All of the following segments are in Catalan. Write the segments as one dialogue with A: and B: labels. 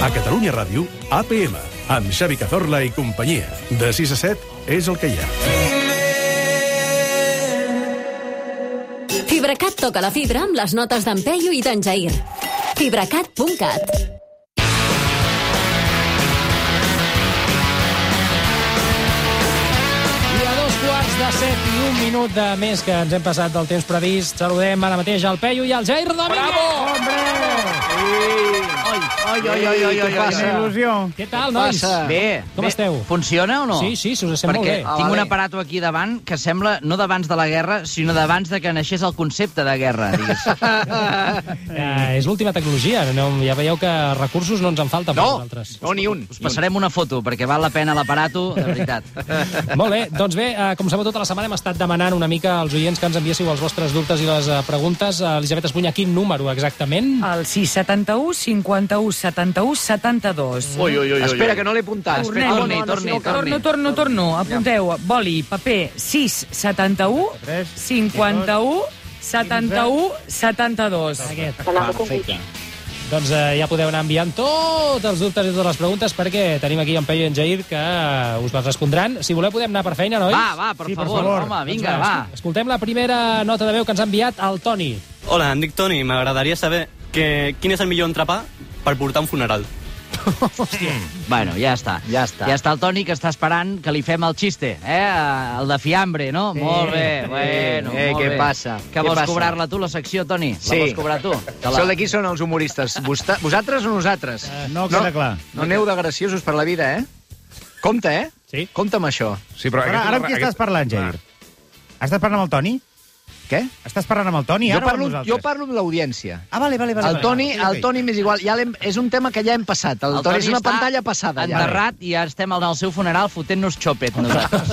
A: A Catalunya Ràdio, APM, amb Xavi Cazorla i companyia. De 6 a 7 és el que hi ha.
B: Fibracat toca la fibra amb les notes d'en Peyu i d'en Jair. Fibracat.cat
C: I a dos quarts de set i un minut de més que ens hem passat del temps previst, saludem ara mateix al Peyu i al Jair Domínguez. Bravo!
D: Oi, oi, oi, oi, oi,
E: Passa. Il·lusió.
C: Què tal, nois?
D: passa?
E: Bé.
C: Com
E: bé.
C: esteu?
D: Funciona o no?
C: Sí, sí, se us sent
D: Perquè
C: molt bé.
D: Perquè tinc un aparato aquí davant que sembla no d'abans de la guerra, sinó d'abans de que naixés el concepte de guerra, digues.
C: Eh, és l'última tecnologia, no, ja veieu que recursos no ens en falten per
E: No,
C: nosaltres.
E: no, ni un.
D: Us passarem una foto, perquè val la pena l'aparato, de veritat.
C: Molt bé, doncs bé, eh, com sabeu, tota la setmana hem estat demanant una mica als oients que ens enviéssiu els vostres dubtes i les eh, preguntes. Eh, Elisabet Espunya, quin número exactament?
F: El 671 51 71 72.
E: Ui, ui, ui,
G: Espera, que no l'he apuntat.
F: Tornem.
G: Espera,
D: Torni, torni, torni.
F: Torno, torno, torno. Apunteu. Boli, paper, 6, 71, 51, 71, 72.
C: Aquest.
G: Perfecte.
C: Doncs eh, ja podeu anar enviant tots els dubtes i totes les preguntes perquè tenim aquí en Peyu i en Jair que eh, us les respondran. Si voleu podem anar per feina, nois?
D: Va, va, per,
G: Sí, per
D: favor,
G: favor.
D: home,
C: Doncs
D: vinga, va.
C: escol- Escoltem la primera nota de veu que ens ha enviat el Toni.
H: Hola, em dic Toni. M'agradaria saber que, quin és el millor entrepà per portar a un funeral.
D: Bueno, ja està.
E: Ja està.
D: Ja està el Toni, que està esperant que li fem el xiste, eh? El de fiambre, no? Sí. Molt bé,
E: Sí.
D: bueno,
E: Eh,
D: molt
E: què
D: bé.
E: passa?
D: Que
E: Què
D: vols
E: passa?
D: cobrar-la tu, la secció, Toni?
E: Sí.
D: La vols cobrar tu? Te
E: Sou d'aquí són els humoristes. Vostè, vosaltres o nosaltres?
G: no queda clar.
E: Eh, No aneu de graciosos per la vida, eh? Compte, eh?
C: Sí.
E: Compte amb això.
I: Sí, però
G: Ara,
I: aquest,
G: ara amb qui
I: aquest-
G: estàs parlant, Jair? Estàs parlant amb el Toni?
E: Què?
G: Estàs parlant amb el Toni
E: Jo
G: ara
E: parlo,
G: o amb nosaltres?
E: jo parlo amb l'audiència.
G: Ah, vale, vale, vale.
E: El
G: vale.
E: Toni,
G: Ok, ok.
E: el Toni m'és igual. Ja l'hem- és un tema que ja hem passat. El, Toni, és una
D: està
E: pantalla passada. Ja.
D: Enterrat i ja estem al seu funeral fotent-nos xopet nosaltres.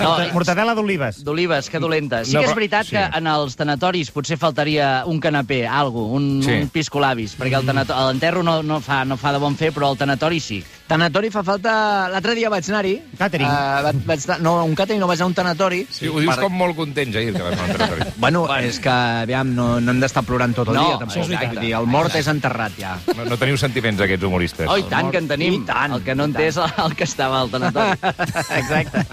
D: no,
G: Mortadela d'olives.
D: D'olives, que dolenta. Sí
I: No,
D: que és
I: però-
D: veritat
I: sí.
D: que en els tanatoris potser faltaria un canapé, algo, un,
I: Sí.
D: un piscolabis, perquè el tanato- l'enterro no, no, fa, no fa de bon fer, però el tanatori sí.
E: Tanatori fa falta... L'altre dia vaig anar-hi.
G: Càtering.
E: Eh, vaig, vaig anar... No, a un càtering no, vaig anar a un tanatori.
I: Sí, ho dius com molt content, Jair, que vas anar al territori.
E: Bueno, bueno, és que, aviam, no, no hem d'estar plorant tot el
D: No,
E: dia,
D: això
E: tampoc.
D: és veritat.
E: Vull dir, el mort és enterrat, ja.
I: No, no teniu sentiments, aquests humoristes.
D: Oh, i tant que en tenim.
E: I tant,
D: el que no
E: i
D: entès el que estava al tanatori.
E: Exacte.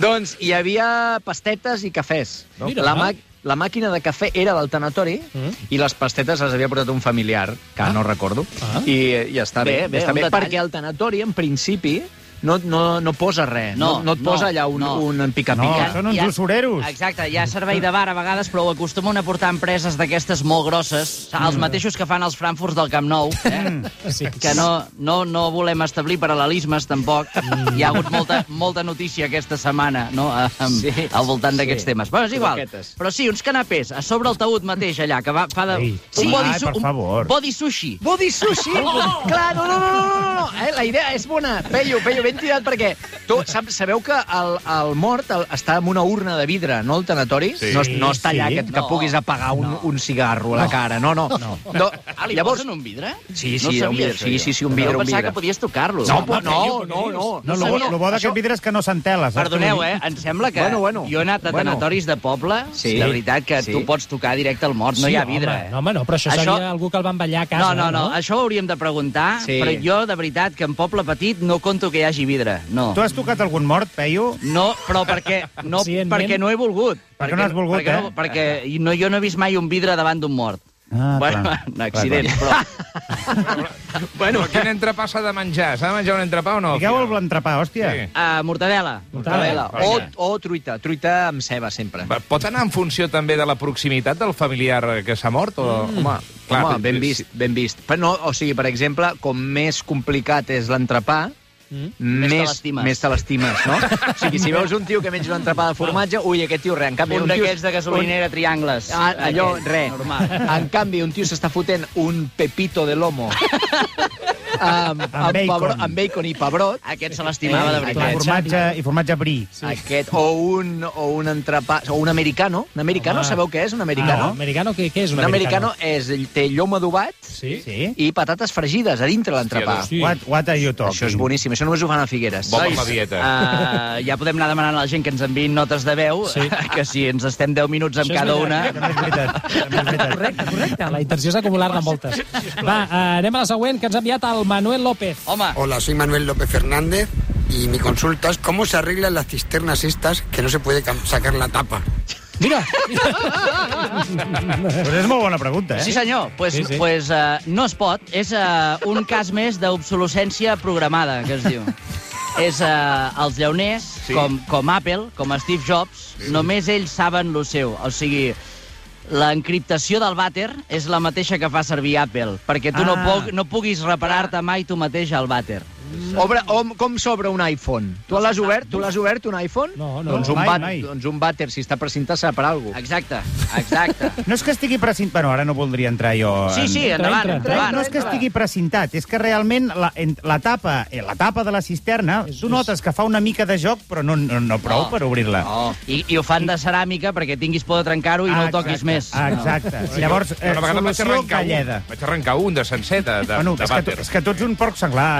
E: doncs hi havia pastetes i cafès. No?
C: Mira.
E: la, mà- la màquina de cafè era del tanatori
C: Mm.
E: i les pastetes les havia portat un familiar, que ah. no recordo,
C: Ah.
E: i, i està bé.
D: Bé, bé,
E: està
D: un
E: bé
D: detall.
E: perquè el tanatori, en principi, no, no, no posa res.
D: No,
E: No, no et
D: no,
E: posa allà un,
D: no.
E: un
G: No,
E: pica-pica.
G: són uns
D: ja-
G: usureros.
D: Exacte, hi ha servei de bar a vegades, però ho acostumen a portar empreses d'aquestes molt grosses, els
G: Mm.
D: mateixos que fan els Frankfurts del Camp Nou, eh?
C: Sí.
D: que no, no, no volem establir paral·lelismes, tampoc.
G: Mm.
D: Hi ha hagut molta, molta notícia aquesta setmana, no?, a, amb, sí,
E: Sí,
D: al voltant d'aquests
E: sí.
D: temes. Però és igual.
E: Croquetes.
D: Però sí, uns canapés, a sobre el taüt mateix, allà, que va, fa de...
C: Ei.
D: un body,
G: Ai,
D: su-
G: per
D: un
G: favor.
D: body sushi.
E: Body sushi? Oh! Clar, no, no, no, no, no, no. Eh, la idea és bona. Pello, Pello, ben tirat, perquè tu saps, sabeu que el, el mort el, està en una urna de vidre, no, el tanatori?
I: Sí.
E: No, no està allà
C: Sí.
E: que, que
D: No.
E: puguis apagar un, un cigarro a la cara, no, no. no. no.
D: Ah, li
E: Llavors,
D: posen un vidre?
E: Sí, sí,
D: no sabia
E: un vidre,
D: això,
E: sí,
D: jo.
E: sí, sí, un vidre,
D: Jo
E: un
D: pensava
E: vidre.
D: que podies tocar-lo.
E: No, no, no, no, no.
G: No, lo, bo- lo bo d'aquest vidre és que no s'entela. saps?
D: Perdoneu, eh? Em sembla que
E: Bueno, bueno.
D: jo he anat a
E: Bueno.
D: tanatoris de poble,
E: Sí.
D: de veritat que
E: Sí.
D: tu pots tocar directe al mort, no hi ha vidre.
C: Home,
D: eh?
C: no, home, no, però això, això
D: Això-
C: seria algú que el van ballar a casa.
D: No, no, no, això ho hauríem de preguntar, sí.
E: Sí.
D: però jo, de veritat, que en poble petit no conto que hi hagi vidre, no.
G: Tu has tocat algun mort, Peyu?
D: No, però perquè no,
C: Conscientment.
D: perquè no he volgut.
G: Perquè no has volgut,
D: perquè
G: eh?
D: perquè no, jo no he vist mai un vidre davant d'un mort.
G: Ah,
D: bueno,
G: clar.
D: un accident, clar,
I: Bueno, quin entrepà s'ha de menjar? S'ha de menjar un entrepà o no?
G: Digueu el l'entrepà, hòstia.
I: Sí.
D: però... Uh, mortadela.
C: Mortadela.
E: O, o Oh, truita, truita amb ceba, sempre.
I: Va, Pot anar en funció també de la proximitat del familiar que s'ha mort? O... Mm. Home,
E: Clar, Home, ben vist, ben vist. Però no, o sigui, per exemple, com més complicat és l'entrepà,
C: Mm.
D: Més te
E: més,
D: l'estimes.
E: més te l'estimes, no? o sigui, si veus un tio que menja un entrepà de formatge, ui, aquest tio, res. En canvi,
D: Un
E: tio-
D: d'aquests de gasolinera triangles.
E: Ah, allò,
D: Aquest,
E: res.
D: Normal.
E: En canvi, un tio s'està fotent un pepito de lomo amb,
G: bacon.
E: amb, pebrot, amb bacon i pebrot,
D: Aquest se l'estimava de
G: I
D: veritat.
G: formatge, I formatge brí.
E: sí. aquest, o un, o un entrepà, o un americano. Un americano,
C: Home.
E: sabeu què és un
C: Ah,
E: americano?
C: americano, què, què és un,
E: Un americano és, té llom adobat
C: Sí? sí.
G: Sí?
E: i patates fregides a dintre l'entrepà.
C: Sí.
G: What, what are you talking?
E: Això és boníssim, això només ho fan a Figueres.
I: Bon
E: Nois,
I: per la dieta.
D: Uh, ja podem anar demanant a la gent que ens enviïn notes de veu,
C: Sí.
D: sí. que si ens estem 10 minuts amb
C: Això és
D: cada una...
C: veritat.
G: També és veritat. També és veritat.
F: Correcte, correcte.
C: La intenció és acumular-ne moltes. Va, eh, anem a la següent, que ens ha enviat el Manuel López.
D: Home,
J: Hola, soy Manuel López Fernández y mi consulta es cómo se arreglan las cisternas estas que no se puede cam- sacar la tapa.
C: Mira!
G: Pues és molt bona pregunta, eh?
D: Sí, senyor. Pues,
C: Sí,
D: sí,
C: sí.
D: sí. pues uh, no es pot. És uh, un cas més d'obsolescència programada, que es diu. És uh, els llauners, sí. com, com Apple, com Steve Jobs, només ells saben lo seu. O sigui, l'encriptació del vàter és la mateixa que fa servir Apple, perquè tu ah. no,
G: Ah.
D: puc, no puguis reparar-te mai tu mateix al vàter.
E: Obre, om, com s'obre un iPhone? Tu l'has obert? Tu l'has obert, un iPhone?
C: No, no.
E: doncs un
G: Mai,
E: bat,
G: mai.
E: Doncs un vàter, si està precintat, serà per alguna cosa.
D: Exacte, exacte.
G: No és que estigui precint... Bueno, ara no voldria entrar jo...
D: Sí,
G: en-
D: sí,
C: Entra,
D: endavant,
C: entra.
D: endavant.
G: no és que estigui precintat, és que realment la, en- la, tapa, eh, la tapa de la cisterna, tu notes que fa una mica de joc, però no, no, no prou
D: No.
G: per obrir-la.
D: No. Oh, I, I ho fan de ceràmica perquè tinguis por de trencar-ho i no ho toquis
G: exacte,
D: més.
G: Exacte. Llavors, eh,
I: una vegada vaig
G: solució
I: arrencar, un, eh?
G: galleda.
I: vaig arrencar un de sencer, de, de,
G: bueno,
I: de
G: és, que tu,
I: vàter.
G: és que tu ets un porc senglar,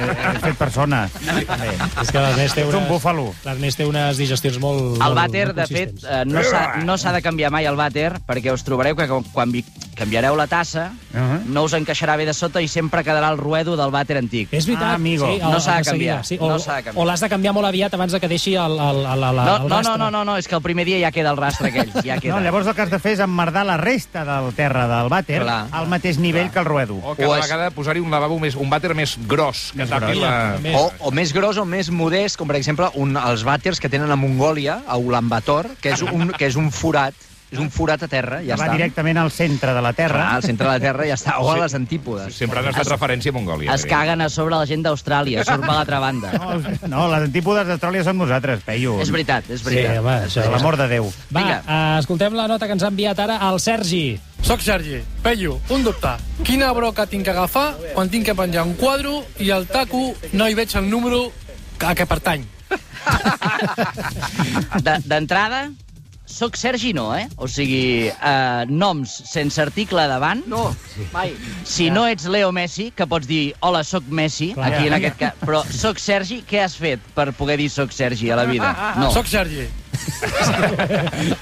G: eh, fet persona. També.
C: És que l'Ernest té,
G: Ets un búfalo.
C: unes- l'Ernest té unes digestions molt...
D: El
C: molt-
D: vàter,
C: molt
D: de fet,
C: consistents.
D: eh, no s'ha no s'ha de canviar mai el vàter, perquè us trobareu que quan- quan vi- canviareu la tassa
G: Ahà.
D: no us encaixarà bé de sota i sempre quedarà el ruedo del vàter antic.
C: És veritat.
G: Ah, amigo.
C: Sí,
D: No s'ha
C: seguida,
D: de canviar,
C: Sí, o,
D: no s'ha de canviar.
C: O l'has de canviar molt aviat abans de que deixi el, el, el, el,
D: No,
C: el
D: no, no,
C: rastre.
D: no, no, no, és que el primer dia ja queda el rastre aquell. Ja queda.
G: No, llavors el que has de fer és emmerdar la resta del terra del vàter
E: Clar.
G: al mateix nivell que el ruedo.
I: O cada
E: o és-
I: vegada posar-hi un lavabo més, un vàter més gros, que tapi
C: gros.
I: la...
C: Més.
E: O, o més gros o més modest, com per exemple un, els vàters que tenen a Mongòlia, a Ulaanbaatar, que és un, que és un forat, és un forat a terra, ja
G: va
E: està.
G: directament al centre de la terra.
E: Clar, al centre de la terra ja està, o a les antípodes.
I: Sempre han estat referència a Mongòlia.
D: Es caguen a sobre la gent d'Austràlia, surt per l'altra banda.
G: No, els- no, les antípodes d'Austràlia són nosaltres, Peyu.
D: És veritat, és
C: Sí,
D: veritat.
C: home, això...
G: Per l'amor de Déu.
C: Va,
D: Vinga.
C: eh, escoltem la nota que ens ha enviat ara el Sergi.
J: Soc Sergi. Pello, un dubte. Quina broca tinc que agafar quan tinc que penjar un quadro i al taco no hi veig el número a què pertany?
D: De- D'entrada, soc Sergi no, eh? O sigui, eh, noms sense article davant.
E: No, mai.
D: Si no ets Leo Messi, que pots dir hola, sóc Messi,
C: Clar.
D: aquí en aquest cas, però sóc Sergi, què has fet per poder dir sóc Sergi a la vida? No.
J: Soc Sergi.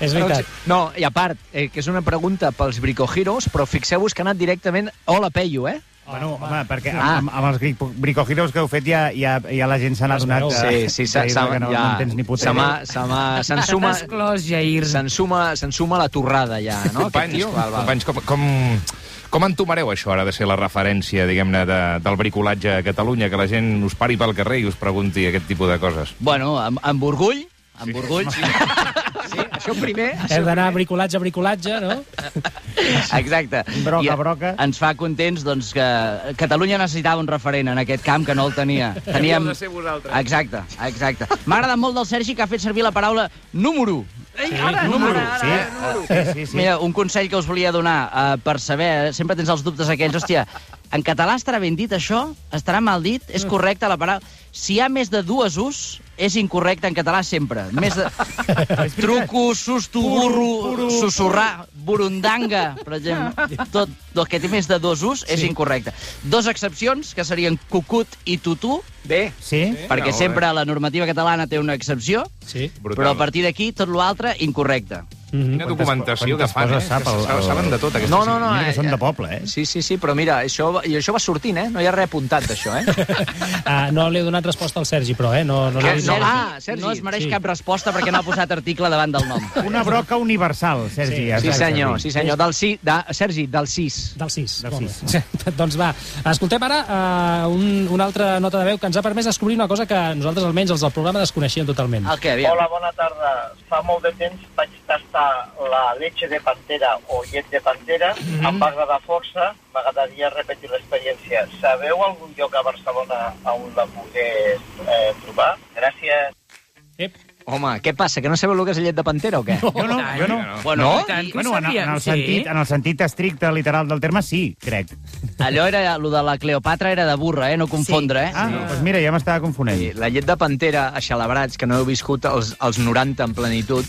C: És veritat.
E: No, i a part, eh, que és una pregunta pels bricogiros, però fixeu-vos que ha anat directament... Hola, Peyu, eh?
G: Bueno, home, perquè
E: Ah.
G: amb, amb els grico- bricogiros que heu fet ja, ja, ja la gent se n'ha
C: Es
G: adonat
C: veu.
G: que,
E: s'ha-
G: que,
E: s'ha-
G: que no, no en tens ni puta
E: se m'ha...
G: idea.
E: se m'ha- Se'n
F: T'has
E: suma...
F: clos, Jair.
E: Se'n suma, se'n suma la torrada, ja, no? aquest
I: Companys,
E: tio? Val, val.
I: companys com, com, com entomareu això ara de ser la referència, diguem-ne, de, del bricolatge a Catalunya, que la gent us pari pel carrer i us pregunti aquest tipus de coses?
D: Bueno, amb, amb orgull, amb sí. orgull.
E: Sí, això primer...
C: Hem d'anar a bricolatge a bricolatge, no?
D: Exacte.
G: Broca,
D: I
G: broca.
D: Ens fa contents doncs, que Catalunya necessitava un referent en aquest camp que no el tenia. Teníem... Exacte, exacte. M'ha agradat molt del Sergi que ha fet servir la paraula número.
E: Ei, ara,
G: Número,
E: ara,
G: sí.
E: ara, ara, número.
G: Sí, sí, sí.
D: Mira, un consell que us volia donar eh, per saber, eh, sempre tens els dubtes aquells, hòstia, en català estarà ben dit això? Estarà mal dit? És correcte la paraula? Si hi ha més de dues us, és incorrecte en català sempre. Més de... Truco, susto, burro, susurrar, burundanga, per exemple. Tot el que té més de dos us és incorrecte. Dos excepcions, que serien cucut i tutú,
E: Bé,
G: Sí?
D: perquè
I: molt
D: sempre la normativa catalana té una excepció,
C: Sí.
I: Brutal.
D: però a partir d'aquí tot l'altre incorrecte.
I: Quina documentació que
G: quantes
I: fan, eh?
G: coses sap el-
I: Saben- Saben de tot, aquestes
E: No, no, no.
G: Mira
E: eh,
G: que són de
E: eh,
G: poble, eh?
E: Sí, sí, sí, però mira, això, va- i això va sortint, eh? No hi ha res apuntat, d'això, eh?
C: Ah, no li he donat resposta al Sergi, però, eh? No, no,
E: Que
C: l'he dit.
E: no.
D: Sergi,
E: Ah, Sergi.
D: no es mereix
C: Sí.
D: cap resposta perquè no ha posat article davant del nom.
G: Una broca universal, Sergi. has
E: Sí,
G: de servir.
E: senyor, sí, senyor. Del si, de, Sergi, del 6.
C: Del 6.
G: Del sis.
C: doncs va, escoltem ara uh, un, una altra nota de veu que ens ha permès descobrir una cosa que nosaltres, almenys, els del programa desconeixíem totalment.
D: El què, aviam?
K: Hola, bona tarda. Fa molt de temps vaig tastar la leche de pantera o llet de pantera. Mm
L: Mhm.
K: -hmm. Em va agradar força, m'agradaria repetir l'experiència. Sabeu algun lloc a Barcelona on la pogués eh, trobar? Gràcies.
C: Ep,
E: Home, què passa, que no sabeu el que és llet de pantera o què?
G: Jo no, jo no.
E: Bueno,
G: no?
E: i tant, que
G: bueno,
E: ho
G: en, en, el
E: sabíem, sí.
G: sentit, en el sentit estricte literal del terme, sí, crec.
D: Allò era, lo de la Cleopatra era de burra, eh? No confondre, eh?
G: Ah, doncs mira, ja m'estava confonent.
E: Sí, la llet de pantera, a xalabrats, que no heu viscut els, els 90 en plenitud,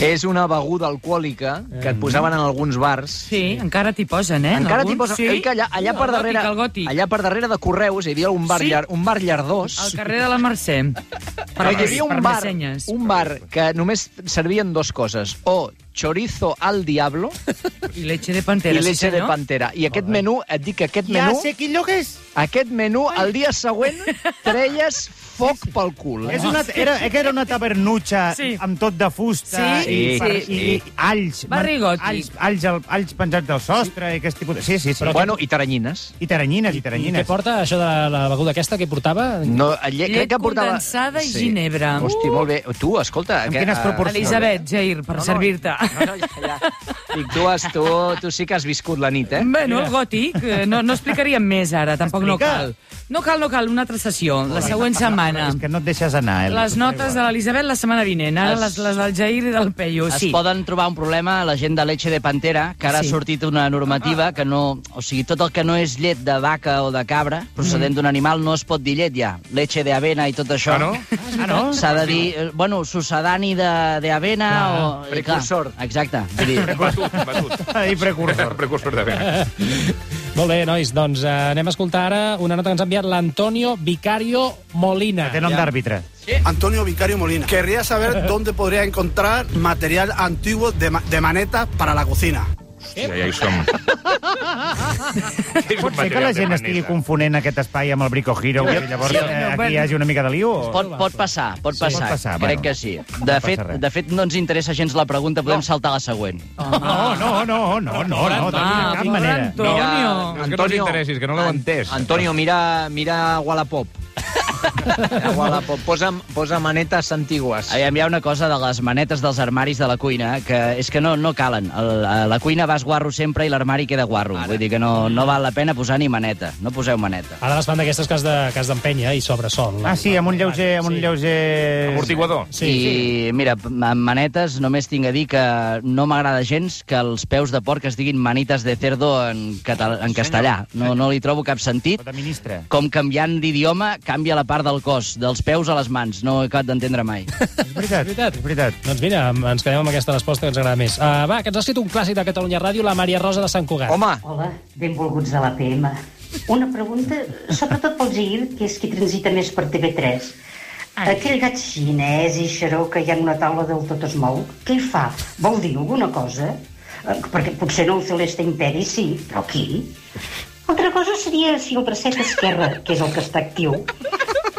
E: és una beguda alcohòlica que et posaven en alguns bars.
F: Sí, encara t'hi posen, eh? en
E: Encara t'hi
F: alguns,
E: posen...
F: sí.
E: Sí? Allà, allà, per
F: El gòtic,
E: darrere,
F: el gòtic.
E: allà per darrere de Correus hi havia un bar,
F: Sí.
E: sí? llar, un bar llardós.
F: Al carrer de la Mercè. Per,
E: Però hi havia un
F: per
E: bar,
F: Messenyes.
E: un bar que només servien dues coses. O chorizo al diablo
F: I leche de pantera,
E: i
F: sí,
E: leche de
F: senyor.
E: pantera. I aquest menú, et dic que aquest
G: Ja
E: menú...
G: sé quin lloc és.
E: Aquest menú, el dia següent, treies foc pel cul.
G: És una, era, eh, que era una tavernutxa sí.
F: Sí.
G: amb tot de fusta
F: Sí,
G: i,
E: sí,
G: per-
E: sí.
G: i, i alls,
F: Va rigoti.
G: alls, alls, al- alls penjats del sostre sí. i aquest tipus de... Sí, sí, sí.
E: Però bueno, i taranyines.
G: I taranyines, i
C: I què
G: taranyines.
C: porta això de la, la beguda aquesta que portava?
E: No, lle...
F: Llet
E: crec que portava...
F: condensada i ginebra.
E: Hosti, molt bé. Tu, escolta... eh,
G: Amb quines proporcions?
F: Elisabet, Jair, per
E: no,
F: servir-te.
E: No, no, ja, ja. Dic, tu, has, tu, tu sí que has viscut la nit, eh?
F: Bueno, el gòtic, eh, no, no explicaríem més ara, tampoc no cal.
G: Explica.
F: No cal, no cal, una altra sessió, la següent setmana.
G: És que no et deixes anar, eh?
F: Les notes de l'Elisabet la setmana vinent, ara
D: Es-
F: les, les del Jair i del Peyu,
D: Es
F: sí.
D: poden trobar un problema la gent de leche de pantera, que ara
F: Sí.
D: ha sortit una normativa que no... O sigui, tot el que no és llet de vaca o de cabra, procedent d'un animal, no es pot dir llet ja. Leche de avena i tot això.
I: Ah, no?
G: Mm. Ah, no?
D: S'ha de dir, eh, bueno, sucedani de, de avena
C: Clar,
D: o...
E: precursor.
D: Clar, exacte. Vull dir,
I: Batut, batut.
G: I precursor.
I: Precursor de vena.
C: Molt bé, nois, doncs eh, anem a escoltar ara una nota que ens ha enviat l'Antonio Vicario Molina.
G: Té nom d'àrbitre.
M: Antonio Vicario Molina. Querría saber dónde podría encontrar material antiguo de, ma- de manetas para la cocina.
I: Ja, ja hi som.
G: Pot ser que la gent estigui confonent aquest espai amb el Brico Hero i llavors
F: Sí,
G: eh,
F: no,
G: aquí
F: bueno.
G: hi hagi una mica de lío? O...
D: Pot, pot passar, pot
G: Sí,
D: passar.
G: pot passar,
D: Crec
G: bueno.
D: que sí.
G: No
D: De
G: passa
D: fet,
G: res.
D: de fet, no ens interessa gens la pregunta, podem saltar a la següent.
G: No, no, no, no, no, no, de
F: Ah,
G: cap manera.
F: Antonio.
I: és que no us interessis, que no l'heu
E: An-
I: entès.
E: Antonio, mira, mira Wallapop. Mira Wallapop. Posa, posa manetes antigues.
D: Aviam, hi ha una cosa de les manetes dels armaris de la cuina, que és que no, no calen. El, a la cuina vas guarro sempre i l'armari queda guarro. Vull dir que no, no val la pena posar ni maneta. No poseu maneta.
C: Ara les fan d'aquestes que has de- que has d'empènyer i sobresol.
G: Ah, sí, amb un lleuger... Amb un lleuger...
I: Amortiguador.
C: Sí,
D: I, mira, amb manetes només tinc a dir que no m'agrada gens que els peus de porc es diguin manites de cerdo en, catal en castellà. No, no li trobo cap sentit.
G: O de ministre.
D: Com canviant d'idioma, canvia la part del cos, dels peus a les mans. No he acabat d'entendre mai.
G: És veritat,
C: veritat.
G: és veritat.
C: Doncs mira, amb- ens quedem amb aquesta resposta que ens agrada més. Uh, va, que ens ha escrit un clàssic de Catalunya Ràdio, la Maria Rosa de Sant Cugat.
E: Home,
N: Hola, benvolguts a l'APM. Una pregunta, sobretot pel Zir, que és qui transita més per TV3. Aquell gat xinès i xaró que hi ha en una taula del tot es mou, què hi fa? Vol dir alguna cosa? Eh, Perquè potser no el Celeste Imperi sí, però qui? Altra cosa seria si el bracet esquerre, que és el que està actiu,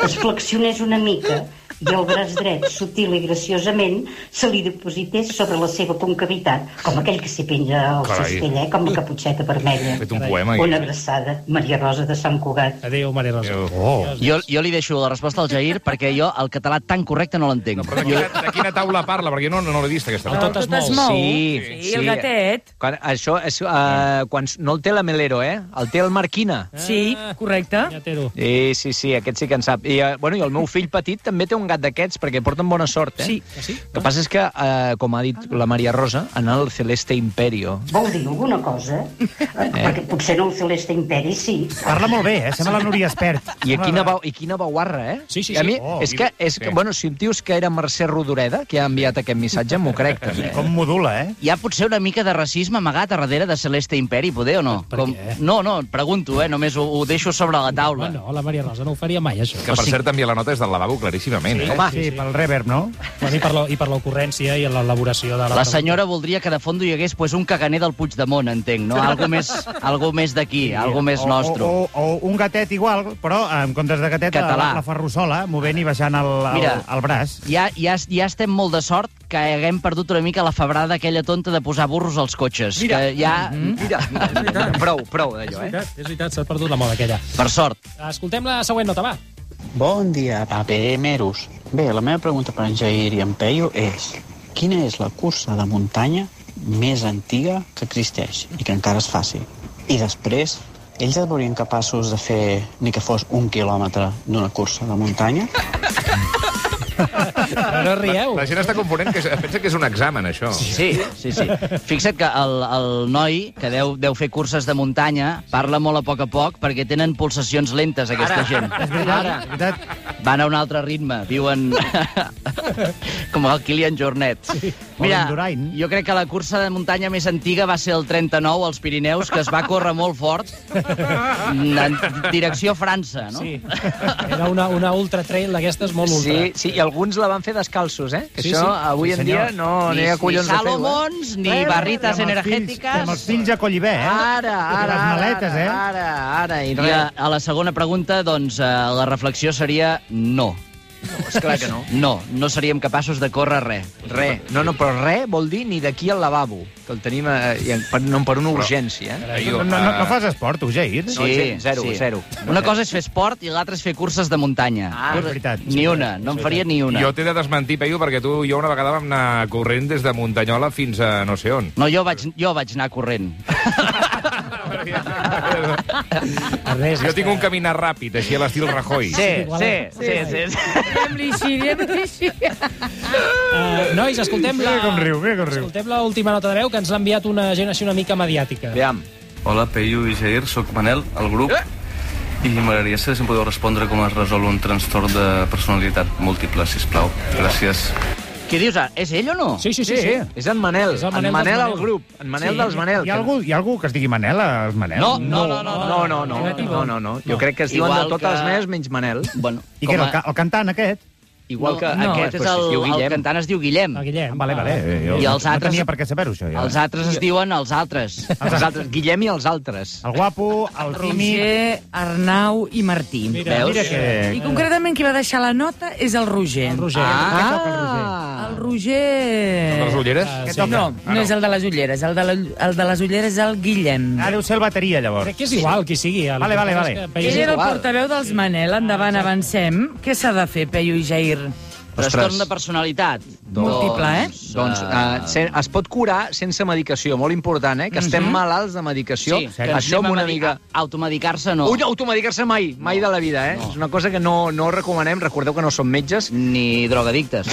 N: es flexionés una mica i el braç dret, sutil i graciosament, se li deposités sobre la seva concavitat, com aquell que s'hi penja al
I: Carai.
N: cistell, eh? com la caputxeta vermella.
I: Ha fet un poema.
N: Una
I: Aquí.
N: abraçada, Maria Rosa de Sant Cugat.
C: Adéu, Maria Rosa.
I: Adéu.
C: Oh.
D: Jo, jo li deixo la resposta al Jair perquè jo el català tan correcte no l'entenc.
I: Però de
D: Jo-
I: quina, de quina taula parla? Perquè jo no, no l'he vist, aquesta
C: El
I: taula.
C: tot es mou.
E: Sí,
F: Sí,
E: sí.
F: el gatet.
E: quan, això és... Uh, quan, no el té la Melero, eh? El té el Marquina.
F: Sí, correcte.
C: Ja t'ero.
E: Sí, sí, sí, aquest sí que en sap. I, eh, bueno, I el meu fill petit també té un gat d'aquests, perquè porten bona sort, eh?
F: Sí. Ah,
C: Sí?
E: El que passa és que, eh, com ha dit la Maria Rosa, en el Celeste Imperio...
N: Vol dir alguna cosa? Eh? Perquè potser no el Celeste Imperi sí,
G: Parla molt bé, eh? Sembla la Núria Espert.
E: I quina, va, I quina bauarra, eh?
C: Ah. Sí, sí,
E: I a
C: sí.
E: mi,
G: Oh,
E: és que, és
I: sí.
E: que, bueno, si em dius que era Mercè Rodoreda, que ha enviat aquest missatge, m'ho crec, també.
G: Com modula, eh?
D: Hi ha potser una mica de racisme amagat a darrere de Celeste Imperi, poder o no?
C: Per què?
D: No, no, et pregunto, eh? Només ho, ho deixo sobre la taula.
C: Home, no, la Maria Rosa no ho faria mai, això.
I: Que, per cert, també la nota és del lavabo, claríssimament, eh?
E: Home,
G: Sí, pel reverb, no?
C: Bueno, i, per la, I per l'ocurrència i l'elaboració de la...
D: La senyora voldria que de fondo hi hagués pues, un caganer del Puigdemont, entenc, no? Algo més, algo més d'aquí, algo més
G: O-
D: nostre.
G: O, o, o un gatet igual, però en comptes de gatet,
D: Català.
G: la, la ferrussola, movent i baixant el, el,
D: Mira.
G: el braç.
D: Ja, ja, ja estem molt de sort que haguem perdut una mica la febrada aquella tonta de posar burros als cotxes. Mira. Que ja...
G: Mm-hmm.
D: Mm -hmm.
E: Mira, prou, prou d'allò, eh?
C: És veritat, s'ha perdut la moda aquella.
D: Per sort.
C: Escoltem la següent nota, va.
O: Bon dia, paperemeros. Bé, la meva pregunta per en Jair i en Peyu és quina és la cursa de muntanya més antiga que existeix i que encara es faci? I després, ells et veurien capaços de fer ni que fos un quilòmetre d'una cursa de muntanya?
C: No rieu.
I: La, la gent està confonent, que es- pensa que és un examen, això.
D: Sí, sí, sí. Fixa't que el, el noi, que deu, deu fer curses de muntanya, parla molt a poc a poc perquè tenen pulsacions lentes, aquesta
I: Ara.
D: gent.
I: És veritat,
D: Ara.
I: és veritat.
D: Van a un altre ritme, viuen com el Kilian Jornet. Mira, jo crec que la cursa de muntanya més antiga va ser el 39 als Pirineus, que es va córrer molt fort en direcció a França, no?
C: Sí. Era una, una ultra trail d'aquestes molt ultra.
E: Sí, sí, i alguns la van fer descalços, eh? Que
C: Sí,
E: sí, això
C: sí.
E: avui
C: Sí,
E: en
C: senyor.
E: dia no
C: Ni-
E: n'hi ha
C: ni
E: collons de fer-ho. eh?
D: Salomons, ni
E: Eh,
D: barrites
E: amb els
D: energètiques.
G: Amb els fills a Collibè, eh?
E: Ara, ara,
G: les
E: ara,
G: maletes, eh?
E: ara, ara, i
D: I
E: res.
D: a, a la segona pregunta, doncs, eh, la reflexió seria no. No,
E: esclar que no.
D: No, no seríem capaços de córrer res.
E: Re. No, no, però re vol dir ni d'aquí al lavabo, que el tenim eh, i en- per, no, per una urgència. Eh?
G: No, no,
I: ah.
G: no fas esport, tu, Jair?
E: No, ze- zero, zero.
D: Una cosa és fer esport i l'altra és fer curses de muntanya.
I: Ah, és veritat.
D: Ni una, no en faria ni una.
I: Jo t'he de desmentir, Peyu, perquè tu i jo una vegada vam anar corrent des de Muntanyola fins a no sé on.
D: No, jo vaig, jo vaig anar corrent.
C: Ah,
I: jo tinc un caminar ràpid, així a l'estil Rajoy.
E: Sí, sí, sí, sí. sí.
F: Diem-li així, diem-li així.
C: Uh, nois, escoltem la...
G: Mira com riu, mira com riu.
C: Escoltem l'última nota de veu que ens l'ha enviat una gent així una mica mediàtica.
E: Aviam.
L: Hola, Peyu i Jair, sóc Manel, al grup.
K: Eh?
L: I m'agradaria saber si em podeu respondre com es resol un trastorn de personalitat múltiple, si plau. Gràcies.
D: Què dius? ara? És ell o no?
C: Sí,
E: sí, sí. És en Manel. És el Manel, en Manel al grup. En Manel sí. dels Manel.
G: Hi ha, algú, hi ha algú que es digui Manel, els Manel?
E: No, no, no, no, no, no, no, no, no, no. Jo crec que es diuen
G: Igual
E: de totes
G: que-
E: les meves menys Manel.
D: Bueno,
G: I què era, el, ca- el cantant aquest?
E: Igual que
D: aquest és
E: però si
D: el,
E: es diu
D: el
E: Guillem.
D: cantant es diu Guillem. El
C: Ah, Guillem.
G: Vale, vale.
I: Ah,
G: eh, jo
D: I els
G: No
D: altres,
G: tenia per què saber-ho, això. Jo.
D: els altres es diuen els altres.
E: Els altres, Guillem i els altres.
G: El guapo, el tímid...
F: Roger, Arnau i Martí.
G: Mira, Veus? mira que-
F: I concretament qui va deixar la nota és el Roger. El
C: Roger.
G: Ah.
F: ah. El Roger... El
G: de les ulleres? Que
F: No,
G: toca.
F: no,
G: Ah, no.
F: no és el de les ulleres. El de, la, el de les ulleres és el Guillem.
G: Ah, deu ser el bateria, llavors.
C: Crec que és igual qui sigui. El
G: Vale, vale, vale.
F: Ell era el portaveu dels
C: Ah,
F: Manel. Endavant, avancem. Què s'ha de fer, Peyu i Jair?
D: Trastorn de personalitat. Ah.
F: Múltiple, eh?
E: Doncs uh, se, es pot curar sense medicació, molt important, eh? Que estem
D: Mhm.
E: malalts de medicació.
D: Sí, que
E: Això
D: anem
E: amb
D: a
E: una
D: medi-
E: mica...
D: Automedicar-se no.
E: Ui, automedicar-se mai, mai de la vida, eh? És una cosa que no, Mm. no recomanem. Recordeu que no som metges.
D: Ni drogadictes.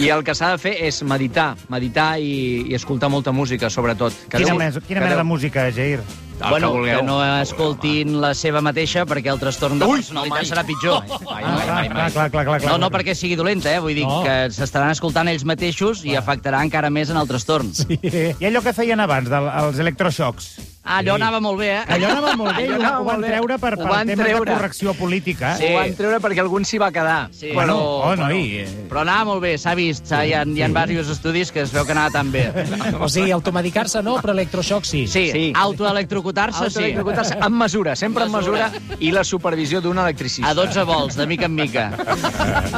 E: I el que s'ha de fer és meditar, meditar i, i escoltar molta música, sobretot.
G: Quina, mes, quina mena de música, Jair?
D: bueno, que, no escoltin la seva mateixa perquè el trastorn de personalitat serà pitjor.
G: Ah, clar, clar, clar, clar, clar.
D: No, no perquè sigui dolenta, eh? Vull dir
G: No.
D: que s'estaran escoltant ells mateixos i afectarà encara més en el trastorn.
G: I allò que feien abans, del, els electroxocs?
D: Allò anava molt bé, eh?
G: Allò anava molt bé, i
E: Allò
G: ho,
E: anava
G: ho van
E: molt bé.
G: treure per,
E: Ho
G: per
E: van
G: temes
E: treure.
G: de correcció política. eh?
E: Sí. Ho van treure perquè algun s'hi va quedar.
D: Sí.
G: Bueno, oh,
D: però,
G: noi, eh.
D: però anava molt bé, s'ha vist. s'ha- Hi ha, hi ha diversos estudis que es veu que anava tan bé.
C: O sigui, automedicar-se no, però electroxoc sí.
D: Sí, sí. autoelectrocutar-se sí.
E: Ah, Autoelectrocutar-se amb mesura, sempre amb mesura, i la supervisió d'un electricista.
D: A 12 volts, de mica en mica.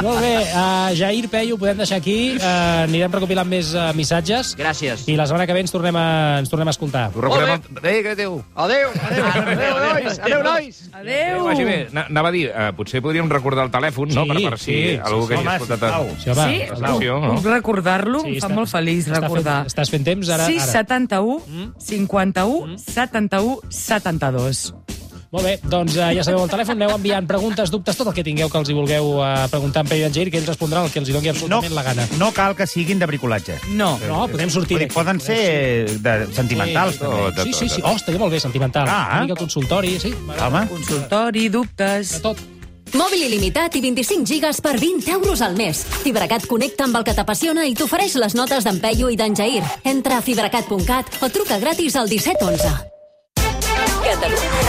C: Molt bé, uh, Jair, Peyu, ho podem deixar aquí. Uh, anirem recopilant més uh, missatges.
D: Gràcies.
C: I la setmana que ve ens tornem a, ens tornem a escoltar.
I: Recordem... El... Ei, que adéu.
E: Adéu, adéu, adéu, nois, adéu, nois.
F: Adéu.
I: Vagi bé. Na- Anava a dir, eh, potser podríem recordar el telèfon, no?
C: Sí,
I: Per, per si
C: sí,
I: algú
C: sí,
I: que hagi
C: sí. Home,
I: escoltat...
C: sisplau.
I: el-
C: Sí, home,
F: Sí?
I: la secció, no?
F: Puc recordar-lo? Sí, em fa molt feliç
C: està
F: recordar.
C: Fent, estàs fent temps ara? Mm?
F: 6,
C: ara.
F: 71, 51, 71, 72.
C: Molt bé, doncs eh, ja sabeu el telèfon, aneu enviant preguntes, dubtes, tot el que tingueu que els hi vulgueu eh, preguntar en Peyu i en Jair, que ells respondran el que els hi doni absolutament la gana.
G: No cal que siguin de bricolatge.
F: No.
C: No, podem sortir
G: Vull dir,
C: d'aquí.
G: Poden ser de sentimentals,
C: Sí,
G: també.
C: Sí, sí, sí. Oh, estaria molt bé, sentimental.
G: Ah, eh?
C: Una mica consultori, sí.
G: Home.
F: Consultori, dubtes...
C: De tot.
B: Mòbil il·limitat i 25 gigas per 20 euros al mes. Fibracat connecta amb el que t'apassiona i t'ofereix les notes d'en Peyu i d'en Jair. Entra a fibracat.cat o truca gratis al 1711. Catalunya